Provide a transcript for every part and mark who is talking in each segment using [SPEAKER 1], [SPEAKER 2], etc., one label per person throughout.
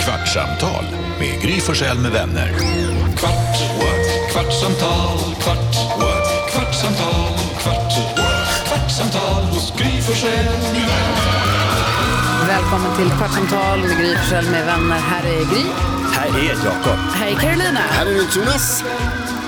[SPEAKER 1] Kvartsamtal med Gry Forssell med vänner. Kvart, what? kvartsamtal, kvart, what? kvartsamtal, kvart, what? kvartsamtal hos Gry Forssell med vänner.
[SPEAKER 2] Välkommen till Kvartsamtal med Gry Forssell med vänner. Här är Gry.
[SPEAKER 3] Här är Jakob.
[SPEAKER 2] Här är Carolina.
[SPEAKER 4] Här är det Jonas.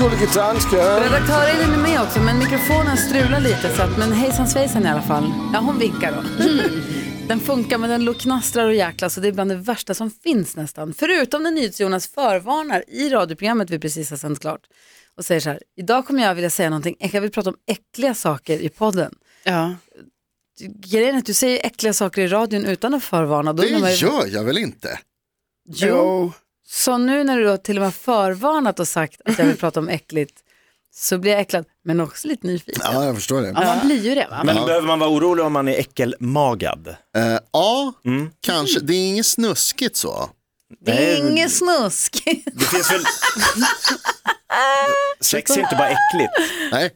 [SPEAKER 2] Redaktör Elin är med också, men mikrofonen strular lite. Så att, men hejsan svejsan i alla fall. Ja, hon vinkar då. Den funkar, men den lå- knastrar och jäklas och det är bland det värsta som finns nästan. Förutom när NyhetsJonas förvarnar i radioprogrammet vi precis har sänt klart och säger så här, idag kommer jag vilja säga någonting, jag vill prata om äckliga saker i podden.
[SPEAKER 5] Ja.
[SPEAKER 2] Grejen är att du säger äckliga saker i radion utan att förvarna. Då
[SPEAKER 4] Det
[SPEAKER 2] undrar man ju-
[SPEAKER 4] gör jag väl inte?
[SPEAKER 2] Jo. Så nu när du då till och med har förvarnat och sagt att jag vill prata om äckligt så blir jag äcklad, men också lite nyfiken.
[SPEAKER 4] Ja, jag förstår det.
[SPEAKER 5] ja, man blir ju det va?
[SPEAKER 3] Men behöver man vara orolig om man är äckelmagad?
[SPEAKER 4] Eh, ja,
[SPEAKER 3] Mm.
[SPEAKER 4] kanske. Det är inget snuskigt så.
[SPEAKER 2] Det är
[SPEAKER 3] Nej,
[SPEAKER 2] inget snusk.
[SPEAKER 3] Det finns väl... Sex är inte bara äckligt.
[SPEAKER 4] Nej,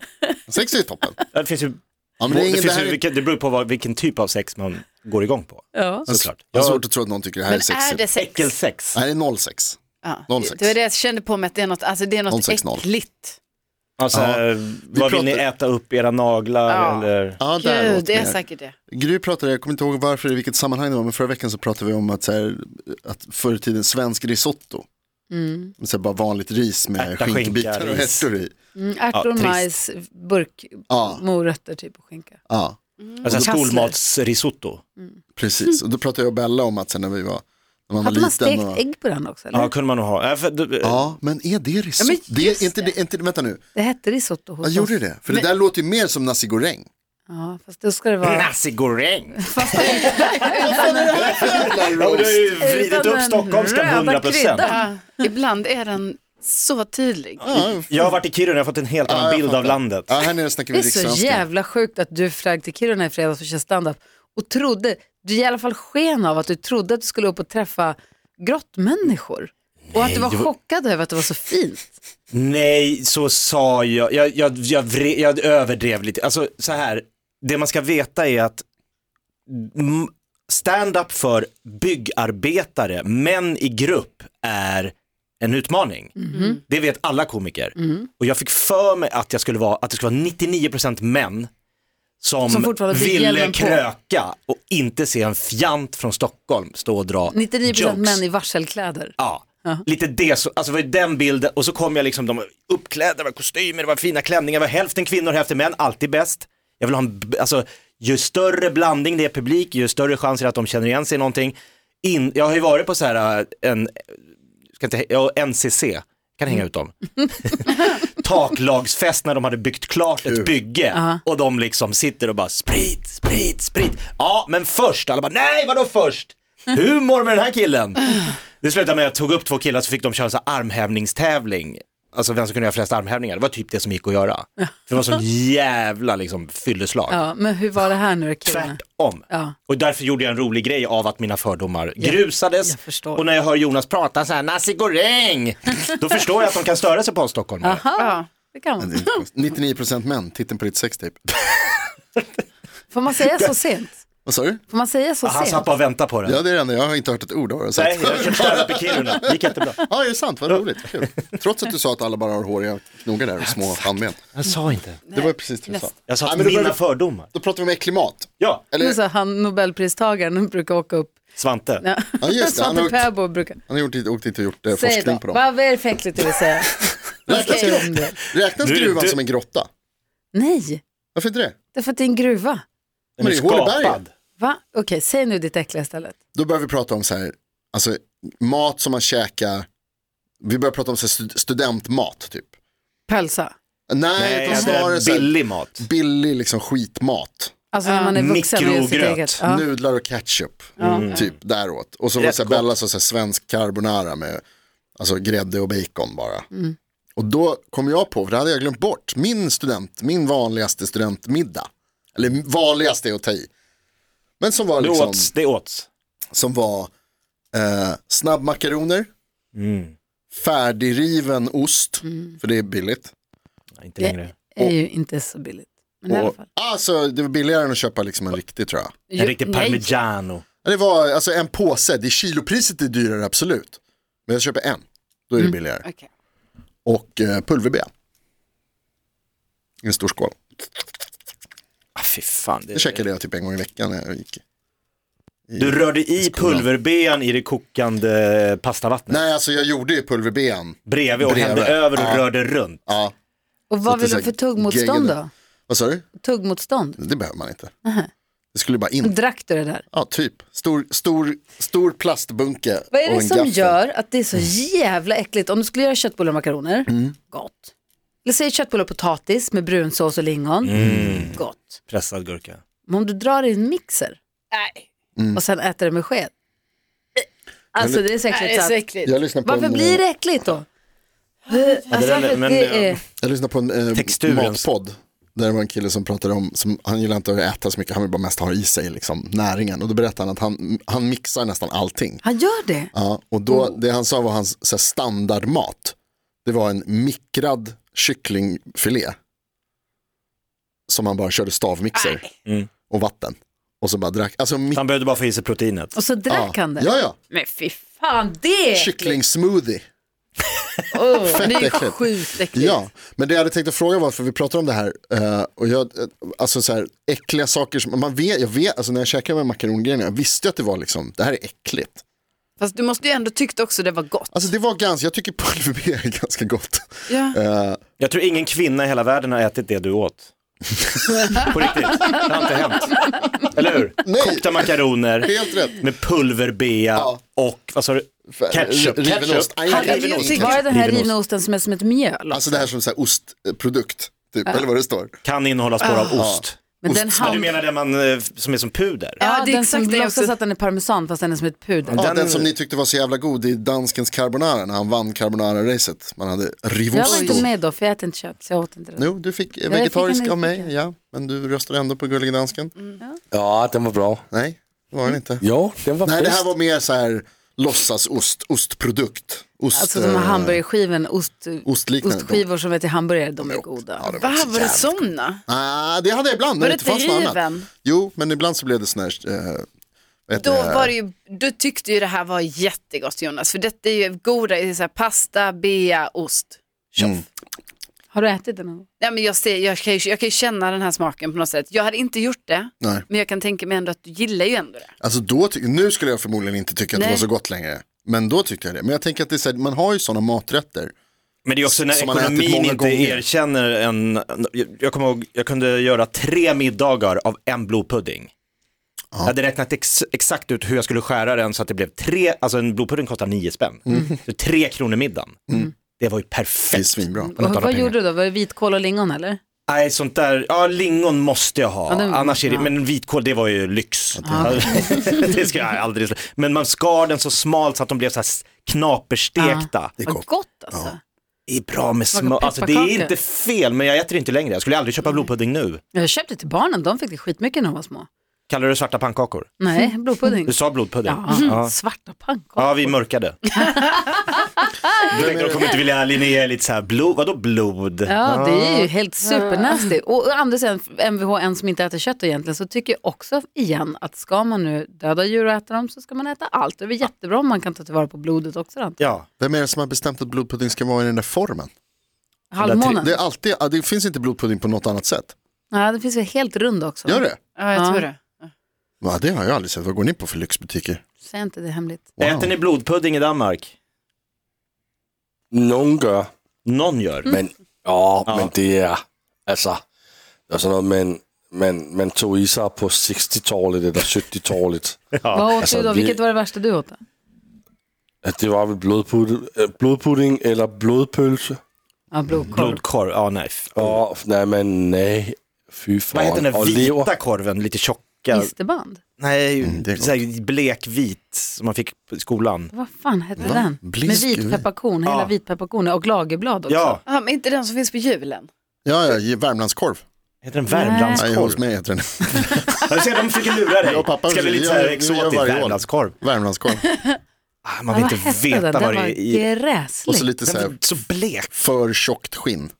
[SPEAKER 4] sex är toppen.
[SPEAKER 3] Ja, Det, finns ju...
[SPEAKER 4] Ja, men det,
[SPEAKER 3] det,
[SPEAKER 4] är inget, det
[SPEAKER 3] finns
[SPEAKER 4] här
[SPEAKER 3] ju...
[SPEAKER 4] är
[SPEAKER 3] vilken- det beror på vad, vilken typ av sex man går igång på.
[SPEAKER 2] ja.
[SPEAKER 3] Såklart.
[SPEAKER 4] jag har
[SPEAKER 3] Ja,
[SPEAKER 4] svårt att tro att någon tycker det här är
[SPEAKER 5] Är
[SPEAKER 4] sexigt.
[SPEAKER 5] det sex?
[SPEAKER 3] äckelsex.
[SPEAKER 4] Nej, det är 06.
[SPEAKER 5] Ja.
[SPEAKER 4] 06.
[SPEAKER 5] Det var det jag kände på mig att det är något, alltså det är något
[SPEAKER 4] 060.
[SPEAKER 5] äckligt.
[SPEAKER 3] Alltså,
[SPEAKER 4] Ja.
[SPEAKER 3] eh, vad vill ni
[SPEAKER 4] pratar-
[SPEAKER 3] äta upp? Era naglar
[SPEAKER 5] Ja.
[SPEAKER 3] eller?
[SPEAKER 2] Mm.
[SPEAKER 4] Ja, där
[SPEAKER 5] Gud,
[SPEAKER 4] åt
[SPEAKER 5] det är
[SPEAKER 4] mer.
[SPEAKER 5] säkert det.
[SPEAKER 4] Gry pratade, jag kommer inte ihåg varför, i vilket sammanhang det var, men förra veckan så pratade vi om att, så här, att förr i tiden svensk risotto,
[SPEAKER 5] Mm.
[SPEAKER 4] så här, bara vanligt ris med
[SPEAKER 3] Ärta,
[SPEAKER 4] skinkbitar
[SPEAKER 3] skinka,
[SPEAKER 4] och
[SPEAKER 3] ris.
[SPEAKER 4] ärtor i.
[SPEAKER 2] Mm, ärtor,
[SPEAKER 3] trist.
[SPEAKER 2] majs, burk,
[SPEAKER 4] Ja.
[SPEAKER 2] morötter typ och skinka.
[SPEAKER 4] Ja,
[SPEAKER 3] Alltså
[SPEAKER 5] Kassler.
[SPEAKER 3] skolmatsrisotto.
[SPEAKER 4] precis. Och då pratade jag och Bella om att sen när vi var, när man var
[SPEAKER 2] Hade man
[SPEAKER 4] liten.
[SPEAKER 2] stekt
[SPEAKER 4] och...
[SPEAKER 2] ägg på den också? Eller?
[SPEAKER 3] Ja, kunde man nog ha. Äh, för, du-
[SPEAKER 4] Ja, men är det risotto?
[SPEAKER 2] Ja, men
[SPEAKER 4] det
[SPEAKER 2] just
[SPEAKER 4] är inte, det. är inte, vänta nu,
[SPEAKER 2] Det hette risotto hos
[SPEAKER 4] jag gjorde
[SPEAKER 2] oss.
[SPEAKER 4] det. För det där låter ju mer som nasi goreng.
[SPEAKER 2] Ja, fast då ska det vara...
[SPEAKER 3] Nasi goreng. Ja, men Du har
[SPEAKER 4] Jävla
[SPEAKER 3] ju vridit
[SPEAKER 2] Utan
[SPEAKER 3] upp
[SPEAKER 2] den
[SPEAKER 3] stockholmskan
[SPEAKER 2] röda
[SPEAKER 3] 100 procent.
[SPEAKER 2] kryddan.
[SPEAKER 5] Ja, Ah, ibland är den så tydlig.
[SPEAKER 3] Jag har varit i Kiruna, jag har fått en helt annan
[SPEAKER 4] jag
[SPEAKER 3] bild av
[SPEAKER 4] fattar.
[SPEAKER 3] landet.
[SPEAKER 4] Ja, här nere snackar
[SPEAKER 2] Det
[SPEAKER 4] vi
[SPEAKER 2] är så
[SPEAKER 4] rikssvenska.
[SPEAKER 2] jävla sjukt att du flög till Kiruna i fredags och körde standup och trodde, du i alla fall sken av att du trodde att du skulle upp och träffa grottmänniskor. och att du var
[SPEAKER 3] det var-
[SPEAKER 2] chockad över att det var så fint.
[SPEAKER 3] Nej, så sa jag. Jag, jag, jag, vre, jag överdrev lite. Alltså så här, det man ska veta är att mm, stand-up för byggarbetare, män i grupp, är en utmaning.
[SPEAKER 2] Mm-hmm.
[SPEAKER 3] Det vet alla komiker. Och jag fick för mig att, jag skulle vara, att det skulle vara 99% män som,
[SPEAKER 2] Som fortfarande fick
[SPEAKER 3] ville
[SPEAKER 2] hjälmen på.
[SPEAKER 3] kröka och inte se en fjant från Stockholm stå och dra
[SPEAKER 2] 99%
[SPEAKER 3] jokes.
[SPEAKER 2] män i varselkläder.
[SPEAKER 3] Ja, lite det, så, alltså det var ju den bilden och så kom jag liksom, de var uppklädda, det var kostymer, det var fina klänningar, det var hälften kvinnor, hälften män, alltid bäst. Jag vill ha en, b- alltså ju större blandning det är publik, ju större chanser att de känner igen sig i någonting. In, jag har ju varit på så här, äh, en, ska inte, hä- ja, NCC, kan hänga ut dem. Taklagsfest när de hade byggt klart ett bygge och de liksom sitter och bara sprit, sprit, sprit. Ja, men först, alla bara nej, vadå först? Humor med den här killen. Det slutade med att jag tog upp två killar så fick de köra en sån här armhävningstävling. Alltså vem som kunde göra flest armhävningar, det var typ det som gick att göra. För det var sån jävla liksom fylleslag.
[SPEAKER 2] Ja, men hur var det här nu då killarna?
[SPEAKER 3] Tvärtom.
[SPEAKER 2] Ja.
[SPEAKER 3] Och därför gjorde jag en rolig grej av att mina fördomar grusades.
[SPEAKER 2] jag förstår.
[SPEAKER 3] och när jag hör Jonas prata så här, nasi goreng, då förstår jag att de kan störa sig på oss stockholmare.
[SPEAKER 5] Ja.
[SPEAKER 2] Det kan man.
[SPEAKER 4] 99% män, titeln på ditt sextape.
[SPEAKER 2] Får man säga så sent?
[SPEAKER 4] Vad sa du?
[SPEAKER 2] Får man säga
[SPEAKER 4] Ah,
[SPEAKER 2] så
[SPEAKER 3] Han
[SPEAKER 2] sent?
[SPEAKER 3] satt bara och väntade på den.
[SPEAKER 4] Ja, det är det enda, jag har inte hört ett ord av det. Så
[SPEAKER 3] Nej,
[SPEAKER 4] att,
[SPEAKER 3] jag köpte stand-up i Kiruna, det gick jättebra.
[SPEAKER 4] ja, det är sant, vad roligt, kul. Trots att du sa att alla bara har håriga knogar där och små handben.
[SPEAKER 3] Jag sa inte.
[SPEAKER 4] Det var precis det du sa.
[SPEAKER 3] Jag sa
[SPEAKER 4] Nej,
[SPEAKER 3] att
[SPEAKER 4] men då
[SPEAKER 3] mina
[SPEAKER 4] börjar vi-
[SPEAKER 3] fördomar.
[SPEAKER 4] Då pratar vi om äcklig mat.
[SPEAKER 3] Ja,
[SPEAKER 2] Nu
[SPEAKER 4] Eller,
[SPEAKER 2] sa han Nobelpristagaren brukar åka upp.
[SPEAKER 3] Svante.
[SPEAKER 4] Ja, just det, han har
[SPEAKER 2] Svante
[SPEAKER 4] åkt-
[SPEAKER 2] Pääbo brukar.
[SPEAKER 4] han har gjort, åkt dit och gjort eh,
[SPEAKER 2] Säg
[SPEAKER 4] forskning
[SPEAKER 2] då,
[SPEAKER 4] på dem.
[SPEAKER 2] vad är det för äckligt du vill säga? Vad
[SPEAKER 4] Räknas,
[SPEAKER 2] säger du om
[SPEAKER 4] gru-
[SPEAKER 2] det?
[SPEAKER 4] räknas
[SPEAKER 3] Du-
[SPEAKER 4] gruvan
[SPEAKER 3] du-
[SPEAKER 4] som en grotta?
[SPEAKER 2] Nej,
[SPEAKER 4] Varför inte det?
[SPEAKER 2] det är för att det är en gruva.
[SPEAKER 3] Den är
[SPEAKER 4] det är hål i berget.
[SPEAKER 3] skapad.
[SPEAKER 2] Va? Okej, säg nu ditt äckliga istället.
[SPEAKER 4] Då börjar vi prata om så här, alltså mat som man käkar, vi börjar prata om så här, stud- studentmat typ.
[SPEAKER 2] Pölsa.
[SPEAKER 4] Nej,
[SPEAKER 3] Nej,
[SPEAKER 4] utan
[SPEAKER 3] det
[SPEAKER 4] snarare
[SPEAKER 3] är
[SPEAKER 4] så här,
[SPEAKER 3] billig mat.
[SPEAKER 4] billig liksom skitmat.
[SPEAKER 2] Alltså när man är vuxen och gör sitt
[SPEAKER 3] Mikrogröt.
[SPEAKER 2] eget. Ja.
[SPEAKER 4] Nudlar och ketchup, typ däråt. Och så var
[SPEAKER 3] Mm. Rätt
[SPEAKER 4] det så här,
[SPEAKER 3] gott.
[SPEAKER 4] Bella sa så här, svensk carbonara med alltså, grädde och bacon bara. Och då kom jag på, för det hade jag glömt bort, min student, min vanligaste studentmiddag. Eller vanligaste är att ta i. Men som var
[SPEAKER 3] Det
[SPEAKER 4] liksom...
[SPEAKER 3] åts, det åts.
[SPEAKER 4] som var eh, snabbmakaroner, färdigriven ost,
[SPEAKER 2] Mm.
[SPEAKER 4] för det är billigt.
[SPEAKER 3] Nej, Inte längre.
[SPEAKER 2] är ju inte så billigt. Men i alla
[SPEAKER 4] Och,
[SPEAKER 2] fall.
[SPEAKER 4] alltså, det var billigare än att köpa liksom en riktig tror jag.
[SPEAKER 3] En riktig
[SPEAKER 2] Nej.
[SPEAKER 3] parmigiano.
[SPEAKER 4] Ja, Det var alltså en påse, det är kilopriset är dyrare absolut. Men jag köper en, då är
[SPEAKER 2] Mm.
[SPEAKER 4] det billigare.
[SPEAKER 5] Okej.
[SPEAKER 4] Och eh, pulverbea. I en stor skål.
[SPEAKER 3] Ah, fy fan. Det,
[SPEAKER 4] Det käkade jag typ en gång i veckan när jag gick.
[SPEAKER 3] Du rörde i pulverbean i det kokande pastavattnet.
[SPEAKER 4] Nej, alltså jag gjorde ju pulverbean.
[SPEAKER 3] Bredvid och
[SPEAKER 4] Bredvid.
[SPEAKER 3] hände över och
[SPEAKER 4] Ja.
[SPEAKER 3] rörde runt.
[SPEAKER 4] Ja,
[SPEAKER 2] Och
[SPEAKER 4] Så
[SPEAKER 2] vad
[SPEAKER 4] att
[SPEAKER 2] vill
[SPEAKER 4] det
[SPEAKER 2] du
[SPEAKER 4] är så
[SPEAKER 2] för
[SPEAKER 4] här
[SPEAKER 2] tuggmotstånd
[SPEAKER 4] gegga-
[SPEAKER 2] då?
[SPEAKER 4] vad sa du?
[SPEAKER 2] Tuggmotstånd?
[SPEAKER 4] Det behöver man inte. Det skulle bara in.
[SPEAKER 2] Drack du det där?
[SPEAKER 4] Ja, typ. Stor, stor, stor plastbunke
[SPEAKER 2] Vad är
[SPEAKER 4] och
[SPEAKER 2] det
[SPEAKER 4] en
[SPEAKER 2] som
[SPEAKER 4] gaffel. Mm.
[SPEAKER 2] gör att det är så jävla äckligt? Om du skulle göra köttbullar och makaroner, gott. Eller säg köttbullar och potatis med brunsås och lingon,
[SPEAKER 4] Mm.
[SPEAKER 2] gott.
[SPEAKER 3] Pressad gurka.
[SPEAKER 2] Men om du drar i en mixer
[SPEAKER 5] Nej,
[SPEAKER 4] Mm.
[SPEAKER 2] och sen äter det med sked. Eh, Alltså det är
[SPEAKER 5] nej, det
[SPEAKER 2] säkert
[SPEAKER 5] är
[SPEAKER 2] så
[SPEAKER 5] så
[SPEAKER 2] att,
[SPEAKER 5] äckligt.
[SPEAKER 4] Jag lyssnade på
[SPEAKER 2] Varför
[SPEAKER 4] en,
[SPEAKER 2] blir det äckligt då? Eh, Alltså,
[SPEAKER 3] den är-
[SPEAKER 2] varför-
[SPEAKER 3] men,
[SPEAKER 2] det är,
[SPEAKER 3] eh,
[SPEAKER 4] Jag lyssnade på en eh,
[SPEAKER 3] Texturen.
[SPEAKER 4] matpodd. Där det var en kille som pratade om, som, han gillar inte att äta så mycket, han vill bara mest ha i sig liksom, näringen. Och då berättade han att han, han mixar nästan allting.
[SPEAKER 2] han gör det.
[SPEAKER 4] Ja, och då,
[SPEAKER 2] Mm.
[SPEAKER 4] det han sa var hans så här, standardmat. Det var en mikrad kycklingfilé. Som han bara körde stavmixer och vatten. Och så bara drack, alltså mik-
[SPEAKER 3] Han behövde bara få i sig proteinet.
[SPEAKER 2] Och så drack
[SPEAKER 4] ja.
[SPEAKER 2] han det.
[SPEAKER 4] ja, ja,
[SPEAKER 2] Men fy fan, det är äckligt.
[SPEAKER 4] kycklingsmoothie.
[SPEAKER 2] Åh,
[SPEAKER 5] Det är ju
[SPEAKER 4] äckligt.
[SPEAKER 5] sjukt äckligt.
[SPEAKER 4] Ja, men det jag hade tänkt att fråga var, för vi pratar om det här, eh, och jag, eh, alltså så här, äckliga saker som, man vet, jag vet, alltså när jag käkade med makarongrejerna, jag visste ju att det var liksom, det här är äckligt.
[SPEAKER 5] Fast du måste ju ändå tyckt också det var gott.
[SPEAKER 4] Alltså det var ganska, jag tycker pulver är ganska gott.
[SPEAKER 5] ja.
[SPEAKER 4] Eh,
[SPEAKER 3] Jag tror ingen kvinna i hela världen har ätit det du åt. På riktigt, det har inte hänt. Eller hur?
[SPEAKER 4] Nej.
[SPEAKER 3] Kokta makaroner
[SPEAKER 4] helt rätt.
[SPEAKER 3] med pulverbea och vad sa du? Ketchup.
[SPEAKER 4] Riven
[SPEAKER 3] Ketchup.
[SPEAKER 4] ost. Nej,
[SPEAKER 2] Han
[SPEAKER 4] jag
[SPEAKER 2] är
[SPEAKER 4] riven ost.
[SPEAKER 2] ju- Var det den här
[SPEAKER 3] Riven ost.
[SPEAKER 2] rivna osten som är som ett mjöl?
[SPEAKER 4] Alltså det här som så här ostprodukt, typ, eller vad det står.
[SPEAKER 3] Kan innehålla spår av
[SPEAKER 4] Ah.
[SPEAKER 3] ost.
[SPEAKER 2] Men den
[SPEAKER 3] Ja, du
[SPEAKER 2] hand...
[SPEAKER 3] menar den man, eh, som är som puder?
[SPEAKER 5] Ja,
[SPEAKER 2] Ja,
[SPEAKER 5] det är
[SPEAKER 2] den som
[SPEAKER 5] exakt det jag
[SPEAKER 2] låtsas
[SPEAKER 5] också-
[SPEAKER 2] att den är parmesan fast den är som ett puder.
[SPEAKER 4] Ja, den...
[SPEAKER 3] Den-
[SPEAKER 4] som ni tyckte var så jävla god i danskens carbonara när han vann carbonara-racet. Man hade
[SPEAKER 2] Jag var
[SPEAKER 4] rivosto.
[SPEAKER 2] inte med då för jag äter inte kött så jag åt inte det.
[SPEAKER 4] Jo, du fick eh,
[SPEAKER 2] jag fick
[SPEAKER 4] vegetarisk
[SPEAKER 2] en
[SPEAKER 4] av mig,
[SPEAKER 2] liten.
[SPEAKER 4] ja. Men du röstade ändå på Gullige Dansken.
[SPEAKER 6] Ja, den var bra.
[SPEAKER 4] Nej, det var den inte.
[SPEAKER 6] Ja, den var
[SPEAKER 4] Nej, det här
[SPEAKER 6] bäst.
[SPEAKER 4] var mer så här låtsasost, ostprodukt. Ost,
[SPEAKER 2] Alltså de här
[SPEAKER 4] eh,
[SPEAKER 2] hamburgerskiven, ost,
[SPEAKER 4] Ostliknande.
[SPEAKER 2] ostskivor som är till hamburgare, de är goda.
[SPEAKER 4] Ja, det var
[SPEAKER 5] Va,
[SPEAKER 4] också
[SPEAKER 5] var det
[SPEAKER 4] jävligt-
[SPEAKER 5] sådana?
[SPEAKER 4] Ah, det hade jag ibland när
[SPEAKER 5] Var
[SPEAKER 4] det
[SPEAKER 5] det
[SPEAKER 4] inte fanns något
[SPEAKER 5] driven?
[SPEAKER 4] annat. Jo, men ibland så blev det sån här... eh, vad heter
[SPEAKER 5] Då,
[SPEAKER 4] det?
[SPEAKER 5] var det ju, då tyckte ju det här var jättegott Jonas, för detta är ju goda i så här, pasta, bea, ost. Tjoff.
[SPEAKER 2] Har du ätit det någon gång?
[SPEAKER 5] Nej, men jag, ser, jag, kan ju, jag kan ju känna den här smaken på något sätt. Jag hade inte gjort det,
[SPEAKER 4] Nej.
[SPEAKER 5] men jag kan tänka mig ändå att du gillar ju ändå det.
[SPEAKER 4] Alltså då, ty- nu skulle jag förmodligen inte tycka att det
[SPEAKER 5] Nej.
[SPEAKER 4] var så gott längre. Men då tyckte jag det. Men jag tänker att det är så här, man har ju sådana maträtter.
[SPEAKER 3] Men det är också när
[SPEAKER 4] Som man har ätit
[SPEAKER 3] ekonomin
[SPEAKER 4] många
[SPEAKER 3] inte
[SPEAKER 4] gånger.
[SPEAKER 3] erkänner en, jag- jag kommer ihåg, jag kunde göra tre middagar av en blodpudding. Jag hade räknat ex, exakt ut hur jag skulle skära den så att det blev tre, alltså en blodpudding kostar nio spänn. Så tre kronor middagen. Det var ju
[SPEAKER 4] Mm. Det är
[SPEAKER 3] perfekt.
[SPEAKER 4] svinbra.
[SPEAKER 3] Om man
[SPEAKER 2] Och,
[SPEAKER 3] talar
[SPEAKER 2] vad
[SPEAKER 3] pengar.
[SPEAKER 2] gjorde du då? Var det vitkål och lingon eller?
[SPEAKER 3] Nej, sånt där, ja lingon måste jag ha.
[SPEAKER 2] Ja, den-
[SPEAKER 3] Annars är det,
[SPEAKER 2] ja.
[SPEAKER 3] men vitkål det var ju lyx. det ska jag aldrig, slå. men man skar den så smalt så att de blev så här s- knaperstekta.
[SPEAKER 4] Det är
[SPEAKER 2] Vad
[SPEAKER 4] gott.
[SPEAKER 2] gott alltså.
[SPEAKER 3] Det är bra med
[SPEAKER 2] Smakar
[SPEAKER 3] smör. Alltså det är
[SPEAKER 2] pepparkaka.
[SPEAKER 3] inte fel, men jag äter inte längre. Jag skulle aldrig köpa blodpudding nu.
[SPEAKER 2] Jag köpte till barnen, de fick det skitmycket när de var små.
[SPEAKER 3] Kallar du det svarta pannkakor?
[SPEAKER 2] Nej, blodpudding.
[SPEAKER 3] Du sa blodpudding?
[SPEAKER 2] Ja,
[SPEAKER 3] Mm. Ja.
[SPEAKER 2] svarta pannkakor.
[SPEAKER 3] ja vi mörkade. Jag tänkte de kommer inte vilja, Linnea är lite så här, blod, vadå blod?
[SPEAKER 2] Ja, det är ju helt supernasty. Och å andra sidan, MVH, en som inte äter kött egentligen, så tycker jag också igen att ska man nu döda djur och äta dem så ska man äta allt. Det är väl jättebra om man kan ta tillvara på blodet också. Då.
[SPEAKER 3] Ja,
[SPEAKER 4] Vem är det som har bestämt att blodpudding ska vara i den där formen?
[SPEAKER 2] Halvmånen.
[SPEAKER 4] Det, är alltid, ja, det finns inte blodpudding på något annat sätt.
[SPEAKER 2] Ja, det finns väl helt rund också.
[SPEAKER 4] Gör det?
[SPEAKER 5] Ja, jag
[SPEAKER 2] Ja.
[SPEAKER 5] tror det.
[SPEAKER 4] Va, det har jag aldrig sett. Vad går ni på för lyxbutiker?
[SPEAKER 2] Säg inte det hemligt.
[SPEAKER 4] Wow.
[SPEAKER 3] äter ni blodpudding i Danmark?
[SPEAKER 6] Nogen gør,
[SPEAKER 3] Någon gör.
[SPEAKER 2] Mm.
[SPEAKER 6] men, åh,
[SPEAKER 3] Ja.
[SPEAKER 6] men det er, altså, der er sådan noget, man, man, man tog i sig på 60-tallet eller 70-tallet.
[SPEAKER 3] Ja.
[SPEAKER 2] Vad åt
[SPEAKER 6] alltså,
[SPEAKER 2] du då?
[SPEAKER 6] vi-
[SPEAKER 2] Vilket var det värsta du åt? Då?
[SPEAKER 6] At det var vel blodpudding, blodpudding eller blodpølse.
[SPEAKER 2] Ja, blodkorv.
[SPEAKER 3] Blodkorv, ja nej. f-
[SPEAKER 6] Åh, nej men nej, fy
[SPEAKER 3] Vad heter Mm.
[SPEAKER 6] fan.
[SPEAKER 3] den där
[SPEAKER 6] Og lever.
[SPEAKER 3] vita korven, lite tjocka?
[SPEAKER 2] Isterband?
[SPEAKER 3] Nej,
[SPEAKER 4] Mm, det är gott.
[SPEAKER 3] så här blekvit som man fick i skolan.
[SPEAKER 2] Vad fan hette den? Med
[SPEAKER 4] Blisk-
[SPEAKER 2] vitpepparkorn, hela
[SPEAKER 3] Ja.
[SPEAKER 2] vitpepparkorn och lagerblad också.
[SPEAKER 3] Ja,
[SPEAKER 5] Ja, men inte den som finns på julen.
[SPEAKER 4] Ja, ja, ge- Eh, Värmlandskorv.
[SPEAKER 3] heter den
[SPEAKER 4] Nej, hos
[SPEAKER 3] Värmlandskorv?
[SPEAKER 4] mig heter den.
[SPEAKER 3] Jag ser, de försöker lura dig.
[SPEAKER 4] Jag och pappa,
[SPEAKER 3] Ska bli
[SPEAKER 4] vi
[SPEAKER 3] lite
[SPEAKER 4] gör-
[SPEAKER 3] så här
[SPEAKER 4] vi gör
[SPEAKER 3] exotiskt,
[SPEAKER 4] varje år.
[SPEAKER 3] Värmlandskorv.
[SPEAKER 4] Värmlandskorv.
[SPEAKER 3] Ah, Man
[SPEAKER 2] Ja,
[SPEAKER 3] vill
[SPEAKER 2] vad
[SPEAKER 3] inte
[SPEAKER 2] hette
[SPEAKER 3] veta
[SPEAKER 2] den? Den
[SPEAKER 3] vad
[SPEAKER 2] var
[SPEAKER 3] det är i.
[SPEAKER 4] Och så
[SPEAKER 2] gräslig.
[SPEAKER 4] lite så
[SPEAKER 3] Den
[SPEAKER 4] här
[SPEAKER 3] var så blek.
[SPEAKER 4] för tjockt skinn.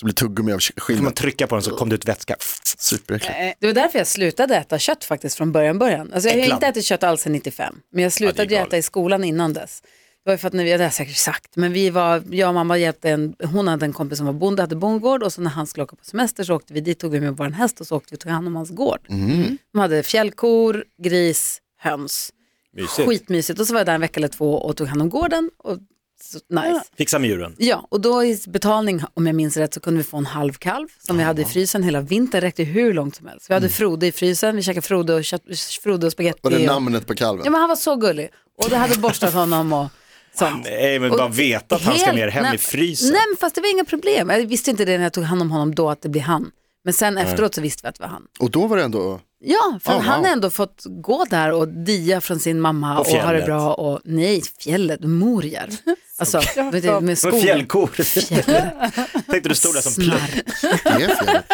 [SPEAKER 4] Så blir tuggummi av
[SPEAKER 3] Kan man
[SPEAKER 4] skinnet.
[SPEAKER 3] trycka på den så kom det ut vätska.
[SPEAKER 4] Superäckligt.
[SPEAKER 2] Eh, Det var därför jag slutade äta kött faktiskt från början början. Alltså jag har ju
[SPEAKER 3] Äcklad.
[SPEAKER 2] inte ätit kött alls sedan 95, men jag slutade ju
[SPEAKER 3] galet.
[SPEAKER 2] äta i skolan innan dess. Det var ju för att när vi, det har jag säkert sagt, men vi var, jag och mamma hjälpte en, hon hade en kompis som var bonde, hade bondgård och så när han skulle åka på semester så åkte vi dit, tog vi med vår häst och så åkte vi och tog hand om hans gård.
[SPEAKER 3] Mhm.
[SPEAKER 2] De hade fjällkor, gris, höns.
[SPEAKER 3] Mysigt.
[SPEAKER 2] Skitmysigt. Och så var jag där en vecka eller två och tog hand om gården. Och så, nice.
[SPEAKER 3] Fixa med djuren.
[SPEAKER 2] Ja, och då i betalning, om jag minns rätt, så kunde vi få en halv kalv som vi hade i frysen hela vintern. räckte hur långt som helst. Vi
[SPEAKER 3] Mm.
[SPEAKER 2] hade Frode i frysen, vi käkade Frode och, kött, Frode och spagetti.
[SPEAKER 4] Var det
[SPEAKER 2] och-
[SPEAKER 4] namnet på kalven?
[SPEAKER 2] Ja, men han var så gullig. Och det hade borstat honom och sånt.
[SPEAKER 3] Nej men bara veta att han ska
[SPEAKER 2] Helt-
[SPEAKER 3] ner hem i
[SPEAKER 2] nej-
[SPEAKER 3] frysen.
[SPEAKER 2] Nej, men fast det var inga problem. Jag visste inte det när jag tog hand om honom då, att det blir han. Men sen efteråt så visste vi att det var han.
[SPEAKER 4] Och då var det ändå,
[SPEAKER 2] Ja, för
[SPEAKER 4] Oh,
[SPEAKER 2] han har
[SPEAKER 4] wow.
[SPEAKER 2] ändå fått gå där och dia från sin mamma och,
[SPEAKER 3] Och
[SPEAKER 2] ha det
[SPEAKER 3] fjället.
[SPEAKER 2] bra. Och, nej, fjället, Morjärv. Alltså, med, det- med
[SPEAKER 3] Som en
[SPEAKER 2] skogen.
[SPEAKER 3] fjällkor. Tänkte du stod där som plupp.
[SPEAKER 2] Snark.
[SPEAKER 4] det är fjället.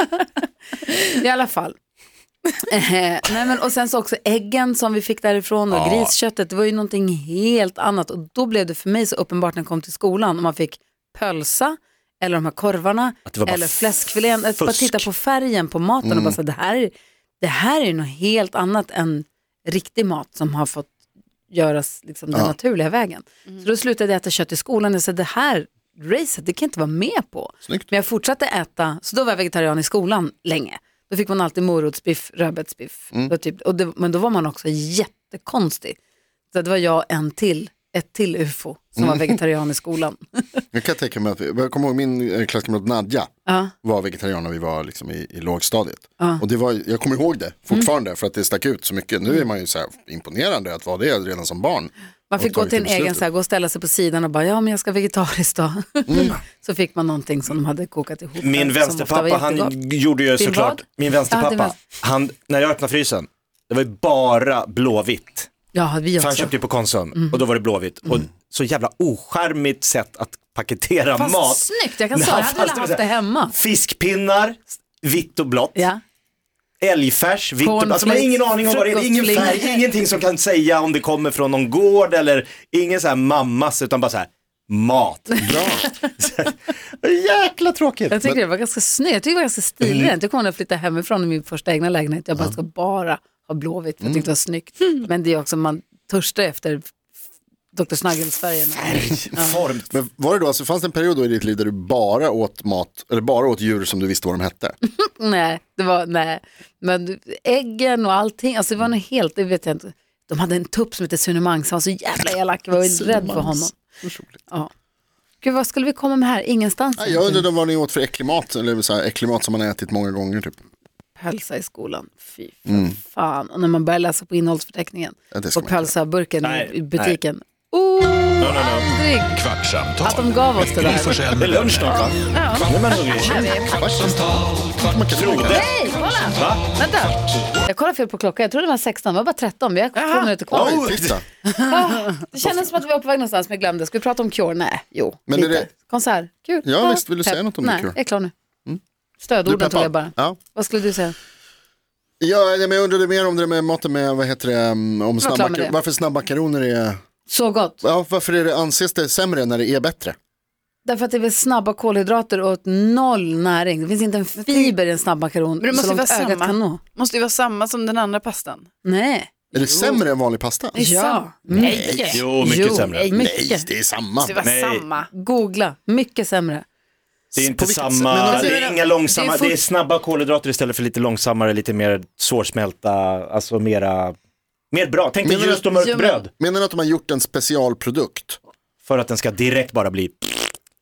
[SPEAKER 2] I alla fall. Eh, Nej, men, och sen så också äggen som vi fick därifrån och grisköttet, det var ju någonting helt annat. Och då blev det för mig så uppenbart när jag kom till skolan, om man fick pölsa eller de här korvarna
[SPEAKER 3] Att det var bara
[SPEAKER 2] eller fläskfilén. Att bara
[SPEAKER 3] fusk. Mm.
[SPEAKER 2] titta på färgen på maten och bara så, det här, det här är ju något helt annat än riktig mat som har fått göras liksom, den naturliga vägen. Så då slutade jag äta kött i skolan och sa det här racet, det kan jag inte vara med på.
[SPEAKER 4] Snyggt.
[SPEAKER 2] Men jag fortsatte äta, så då var jag vegetarian i skolan länge. Då fick man alltid morotsbiff, rödbetsbiff.
[SPEAKER 4] Mm.
[SPEAKER 2] Då Typ, och det, men då var man också jättekonstig. Så det var jag och en till, ett till ufo som
[SPEAKER 4] Mm.
[SPEAKER 2] var vegetarian i skolan.
[SPEAKER 4] Jag kan tänka mig att, vi- jag kommer ihåg min eh, klasskamrat Nadja
[SPEAKER 2] Ja.
[SPEAKER 4] var vegetarian när vi var liksom i, i lågstadiet. Och det var, jag kommer ihåg
[SPEAKER 2] Mm.
[SPEAKER 4] det fortfarande för att det stack ut så mycket. Nu är man ju så här imponerande att vara det redan som barn.
[SPEAKER 2] Man fick
[SPEAKER 4] Och
[SPEAKER 2] gå
[SPEAKER 4] tagit
[SPEAKER 2] till en egen,
[SPEAKER 4] beslutet.
[SPEAKER 2] så här, gå och ställa sig på sidan och bara, ja men jag ska vegetariskt då.
[SPEAKER 4] Mm.
[SPEAKER 2] så fick man någonting som de hade kokat ihop. som
[SPEAKER 3] Min
[SPEAKER 2] ofta var
[SPEAKER 3] vänsterpappa,
[SPEAKER 2] jättegott.
[SPEAKER 3] han gjorde ju
[SPEAKER 2] Din
[SPEAKER 3] såklart,
[SPEAKER 2] vad?
[SPEAKER 3] min
[SPEAKER 2] Ja, det var-
[SPEAKER 3] vänsterpappa, han, när jag öppnade frysen, det var ju bara blåvitt.
[SPEAKER 2] Ja, vi
[SPEAKER 3] För han
[SPEAKER 2] också.
[SPEAKER 3] köpte ju på Konsum
[SPEAKER 2] Mm.
[SPEAKER 3] och då var det blåvitt. Och så jävla oskärmigt sätt att paketera
[SPEAKER 2] Fast
[SPEAKER 3] mat.
[SPEAKER 2] snyggt, jag kan
[SPEAKER 3] Nej,
[SPEAKER 2] säga, jag
[SPEAKER 3] fast
[SPEAKER 2] hade velat
[SPEAKER 3] det var
[SPEAKER 2] haft
[SPEAKER 3] så
[SPEAKER 2] det
[SPEAKER 3] här-
[SPEAKER 2] hemma.
[SPEAKER 3] Fiskpinnar, vitt och blått.
[SPEAKER 2] Ja.
[SPEAKER 3] Älgfärs, vitt och blått. Alltså man har ingen
[SPEAKER 2] Cornflakes,
[SPEAKER 3] aning om vad det är. Ingen
[SPEAKER 2] frukostflingor.
[SPEAKER 3] färg, ingenting som kan säga om det kommer från någon gård eller ingen så här mammas utan bara så här mat. Bra. Jäkla tråkigt.
[SPEAKER 2] Jag tycker det var ganska snyggt, jag tycker det var ganska
[SPEAKER 3] Mm.
[SPEAKER 2] stilrent. Jag kommer ihåg när jag flyttade hemifrån i min första egna lägenhet, jag bara ska bara ha blåvitt
[SPEAKER 3] Mm.
[SPEAKER 2] för jag tyckte det var snyggt. Men det är också, man törstar efter f- Dr. Snuggles-färgen.
[SPEAKER 3] Form.
[SPEAKER 4] Men var det då, alltså, fanns det en period då i ditt liv där du bara åt mat, eller bara åt djur som du visste vad de hette?
[SPEAKER 2] Nej, det var, nej. Men äggen och allting, alltså det var nog helt, det vet jag inte. De hade en tupp som hette Sunemang som var så jävla elak, jag var ju rädd för honom. Ja. Gud, vad skulle vi komma med här? Ingenstans.
[SPEAKER 4] Nej, jag undrade vad ni åt för äcklig mat, eller så här, äcklig mat som man har ätit många gånger typ.
[SPEAKER 2] pölsa i skolan. Fy för fan. Och när man börjar läsa på innehållsförteckningen
[SPEAKER 4] Mm. Ja, det ska
[SPEAKER 2] och
[SPEAKER 4] man inte
[SPEAKER 2] pölsaburken
[SPEAKER 3] Nej,
[SPEAKER 2] i butiken. Oh, aldrig!
[SPEAKER 1] Kvartsamtal
[SPEAKER 2] Att de gav oss det
[SPEAKER 1] med Gry
[SPEAKER 2] där.
[SPEAKER 1] Forssell
[SPEAKER 3] Det är
[SPEAKER 1] med
[SPEAKER 3] lunch snart va? Nu är man hungrig.
[SPEAKER 1] Kvartsamtal,
[SPEAKER 4] Man kan tro det.
[SPEAKER 2] Hej, kolla! Vänta. Jag kollade fel på klockan, jag trodde det var 16, det var bara 13. Vi har två minuter kvar.
[SPEAKER 4] Oj, titta.
[SPEAKER 2] Ah, det kändes som att vi var på väg någonstans men jag glömde. Ska vi prata om Cure? Nej, jo.
[SPEAKER 4] Men är
[SPEAKER 2] lite.
[SPEAKER 4] det-
[SPEAKER 2] Konsert, kul.
[SPEAKER 4] Ja, visst, vill du
[SPEAKER 2] pepp.
[SPEAKER 4] säga något om det,
[SPEAKER 2] Nej,
[SPEAKER 4] Cure? Mm.
[SPEAKER 2] jag är klar nu.
[SPEAKER 4] Du
[SPEAKER 2] Stödorden
[SPEAKER 4] peppar?
[SPEAKER 2] tog jag bara.
[SPEAKER 4] Ja.
[SPEAKER 2] Vad skulle du säga?
[SPEAKER 4] Ja, nej, men jag undrade mer om det där med maten med, vad heter det, um, om
[SPEAKER 2] klar med
[SPEAKER 4] snabbmakaroner.
[SPEAKER 2] det.
[SPEAKER 4] Varför snabbmakaroner är,
[SPEAKER 2] Så gott.
[SPEAKER 4] ja, varför är det, anses det sämre när det är bättre?
[SPEAKER 2] Därför att det är väl snabba kolhydrater och ett noll näring. Det finns inte en fiber i en snabbmakaron
[SPEAKER 5] Men det måste
[SPEAKER 2] så
[SPEAKER 5] ju
[SPEAKER 2] långt
[SPEAKER 5] vara
[SPEAKER 2] ögat
[SPEAKER 5] samma.
[SPEAKER 2] kan nå.
[SPEAKER 5] Måste ju vara samma som den andra pastan.
[SPEAKER 2] Nej.
[SPEAKER 4] Är det sämre än vanlig pasta?
[SPEAKER 2] Ja. Nej.
[SPEAKER 3] Jo, mycket sämre.
[SPEAKER 4] Nej,
[SPEAKER 2] eh, Mycket.
[SPEAKER 4] det är samma.
[SPEAKER 5] Det var
[SPEAKER 3] Nej.
[SPEAKER 5] samma.
[SPEAKER 2] Googla, mycket sämre.
[SPEAKER 3] Det är inte
[SPEAKER 4] vilket sätt?
[SPEAKER 3] samma,
[SPEAKER 4] Men alltså-
[SPEAKER 3] det är inga långsamma,
[SPEAKER 2] Det
[SPEAKER 3] det
[SPEAKER 2] är
[SPEAKER 3] är,
[SPEAKER 2] fort-
[SPEAKER 3] snabba kolhydrater istället för lite långsammare, lite mer svårsmälta, alltså mera, mer bra. Tänk dig
[SPEAKER 4] Menar du-
[SPEAKER 3] ljust och mörkt bröd
[SPEAKER 4] Menar du att de har gjort en specialprodukt
[SPEAKER 3] för att den ska direkt bara bli,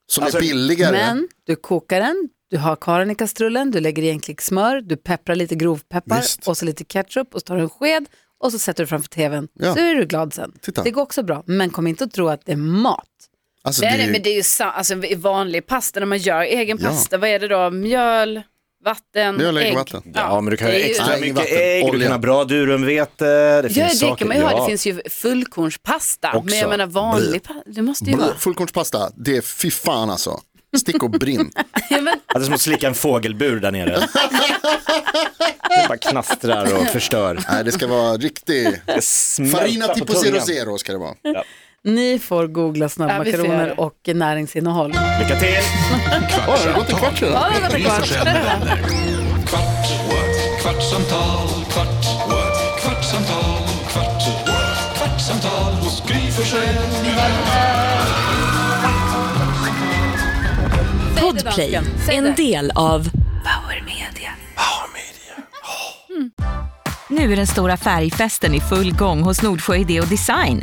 [SPEAKER 4] som
[SPEAKER 3] Alltså,
[SPEAKER 4] är billigare?
[SPEAKER 2] Men du kokar den, du har kvar den i kastrullen, du lägger i en klick smör, du pepprar lite grovpeppar
[SPEAKER 4] Visst.
[SPEAKER 2] och så lite ketchup och så tar du en sked och så sätter du framför tvn.
[SPEAKER 4] Ja.
[SPEAKER 2] Så är du glad sen.
[SPEAKER 4] Titta.
[SPEAKER 2] Det går också bra, men kom inte att tro att det är mat.
[SPEAKER 4] Alltså,
[SPEAKER 5] Det är
[SPEAKER 4] det
[SPEAKER 5] det,
[SPEAKER 4] är-
[SPEAKER 5] men det är ju sa- alltså, i vanlig pasta, när man gör egen
[SPEAKER 4] Ja.
[SPEAKER 5] pasta, vad är det då? Mjöl, vatten,
[SPEAKER 4] Mjöl, ägg,
[SPEAKER 5] ägg.
[SPEAKER 4] vatten.
[SPEAKER 3] ja men du kan
[SPEAKER 5] det
[SPEAKER 3] ju
[SPEAKER 5] är ju-
[SPEAKER 3] extra
[SPEAKER 4] Nej,
[SPEAKER 3] mycket
[SPEAKER 4] vatten,
[SPEAKER 3] ägg, du
[SPEAKER 4] olja.
[SPEAKER 3] kan ha bra durumvete, det
[SPEAKER 5] Ja,
[SPEAKER 3] finns
[SPEAKER 5] det kan
[SPEAKER 3] saker.
[SPEAKER 5] man ju ha.
[SPEAKER 3] ja.
[SPEAKER 5] Det finns ju fullkornspasta. Men
[SPEAKER 4] Också.
[SPEAKER 5] jag menar vanlig pasta, det måste ju vara.
[SPEAKER 4] Blå- Fullkornspasta, det är fy fan alltså. Stick och brinn.
[SPEAKER 5] Ja, men,
[SPEAKER 3] Ja, det är som att slicka en fågelbur där nere. det bara knastrar och förstör.
[SPEAKER 4] Nej, det ska vara riktig...
[SPEAKER 3] Det smälter
[SPEAKER 4] Farina
[SPEAKER 3] på
[SPEAKER 4] tipo
[SPEAKER 3] tungan.
[SPEAKER 4] zero zero ska det vara.
[SPEAKER 2] Ni får googla
[SPEAKER 5] Ja, vi får göra det.
[SPEAKER 2] snabbmakaroner och näringsinnehåll.
[SPEAKER 3] Lycka till!
[SPEAKER 4] Har det gått en kvart redan?
[SPEAKER 5] Ja, det var det
[SPEAKER 1] Gry
[SPEAKER 5] klart.
[SPEAKER 1] Forssell med vänner. Kvart, what? kvartsamtal, kvart, what? kvartsamtal, kvart, what? kvartsamtal hos Gry Forssell med vänner.
[SPEAKER 7] Podplay, en del av Power Media.
[SPEAKER 8] Mm. Nu är den stora färgfesten i full gång hos Nordsjö Idé och Design.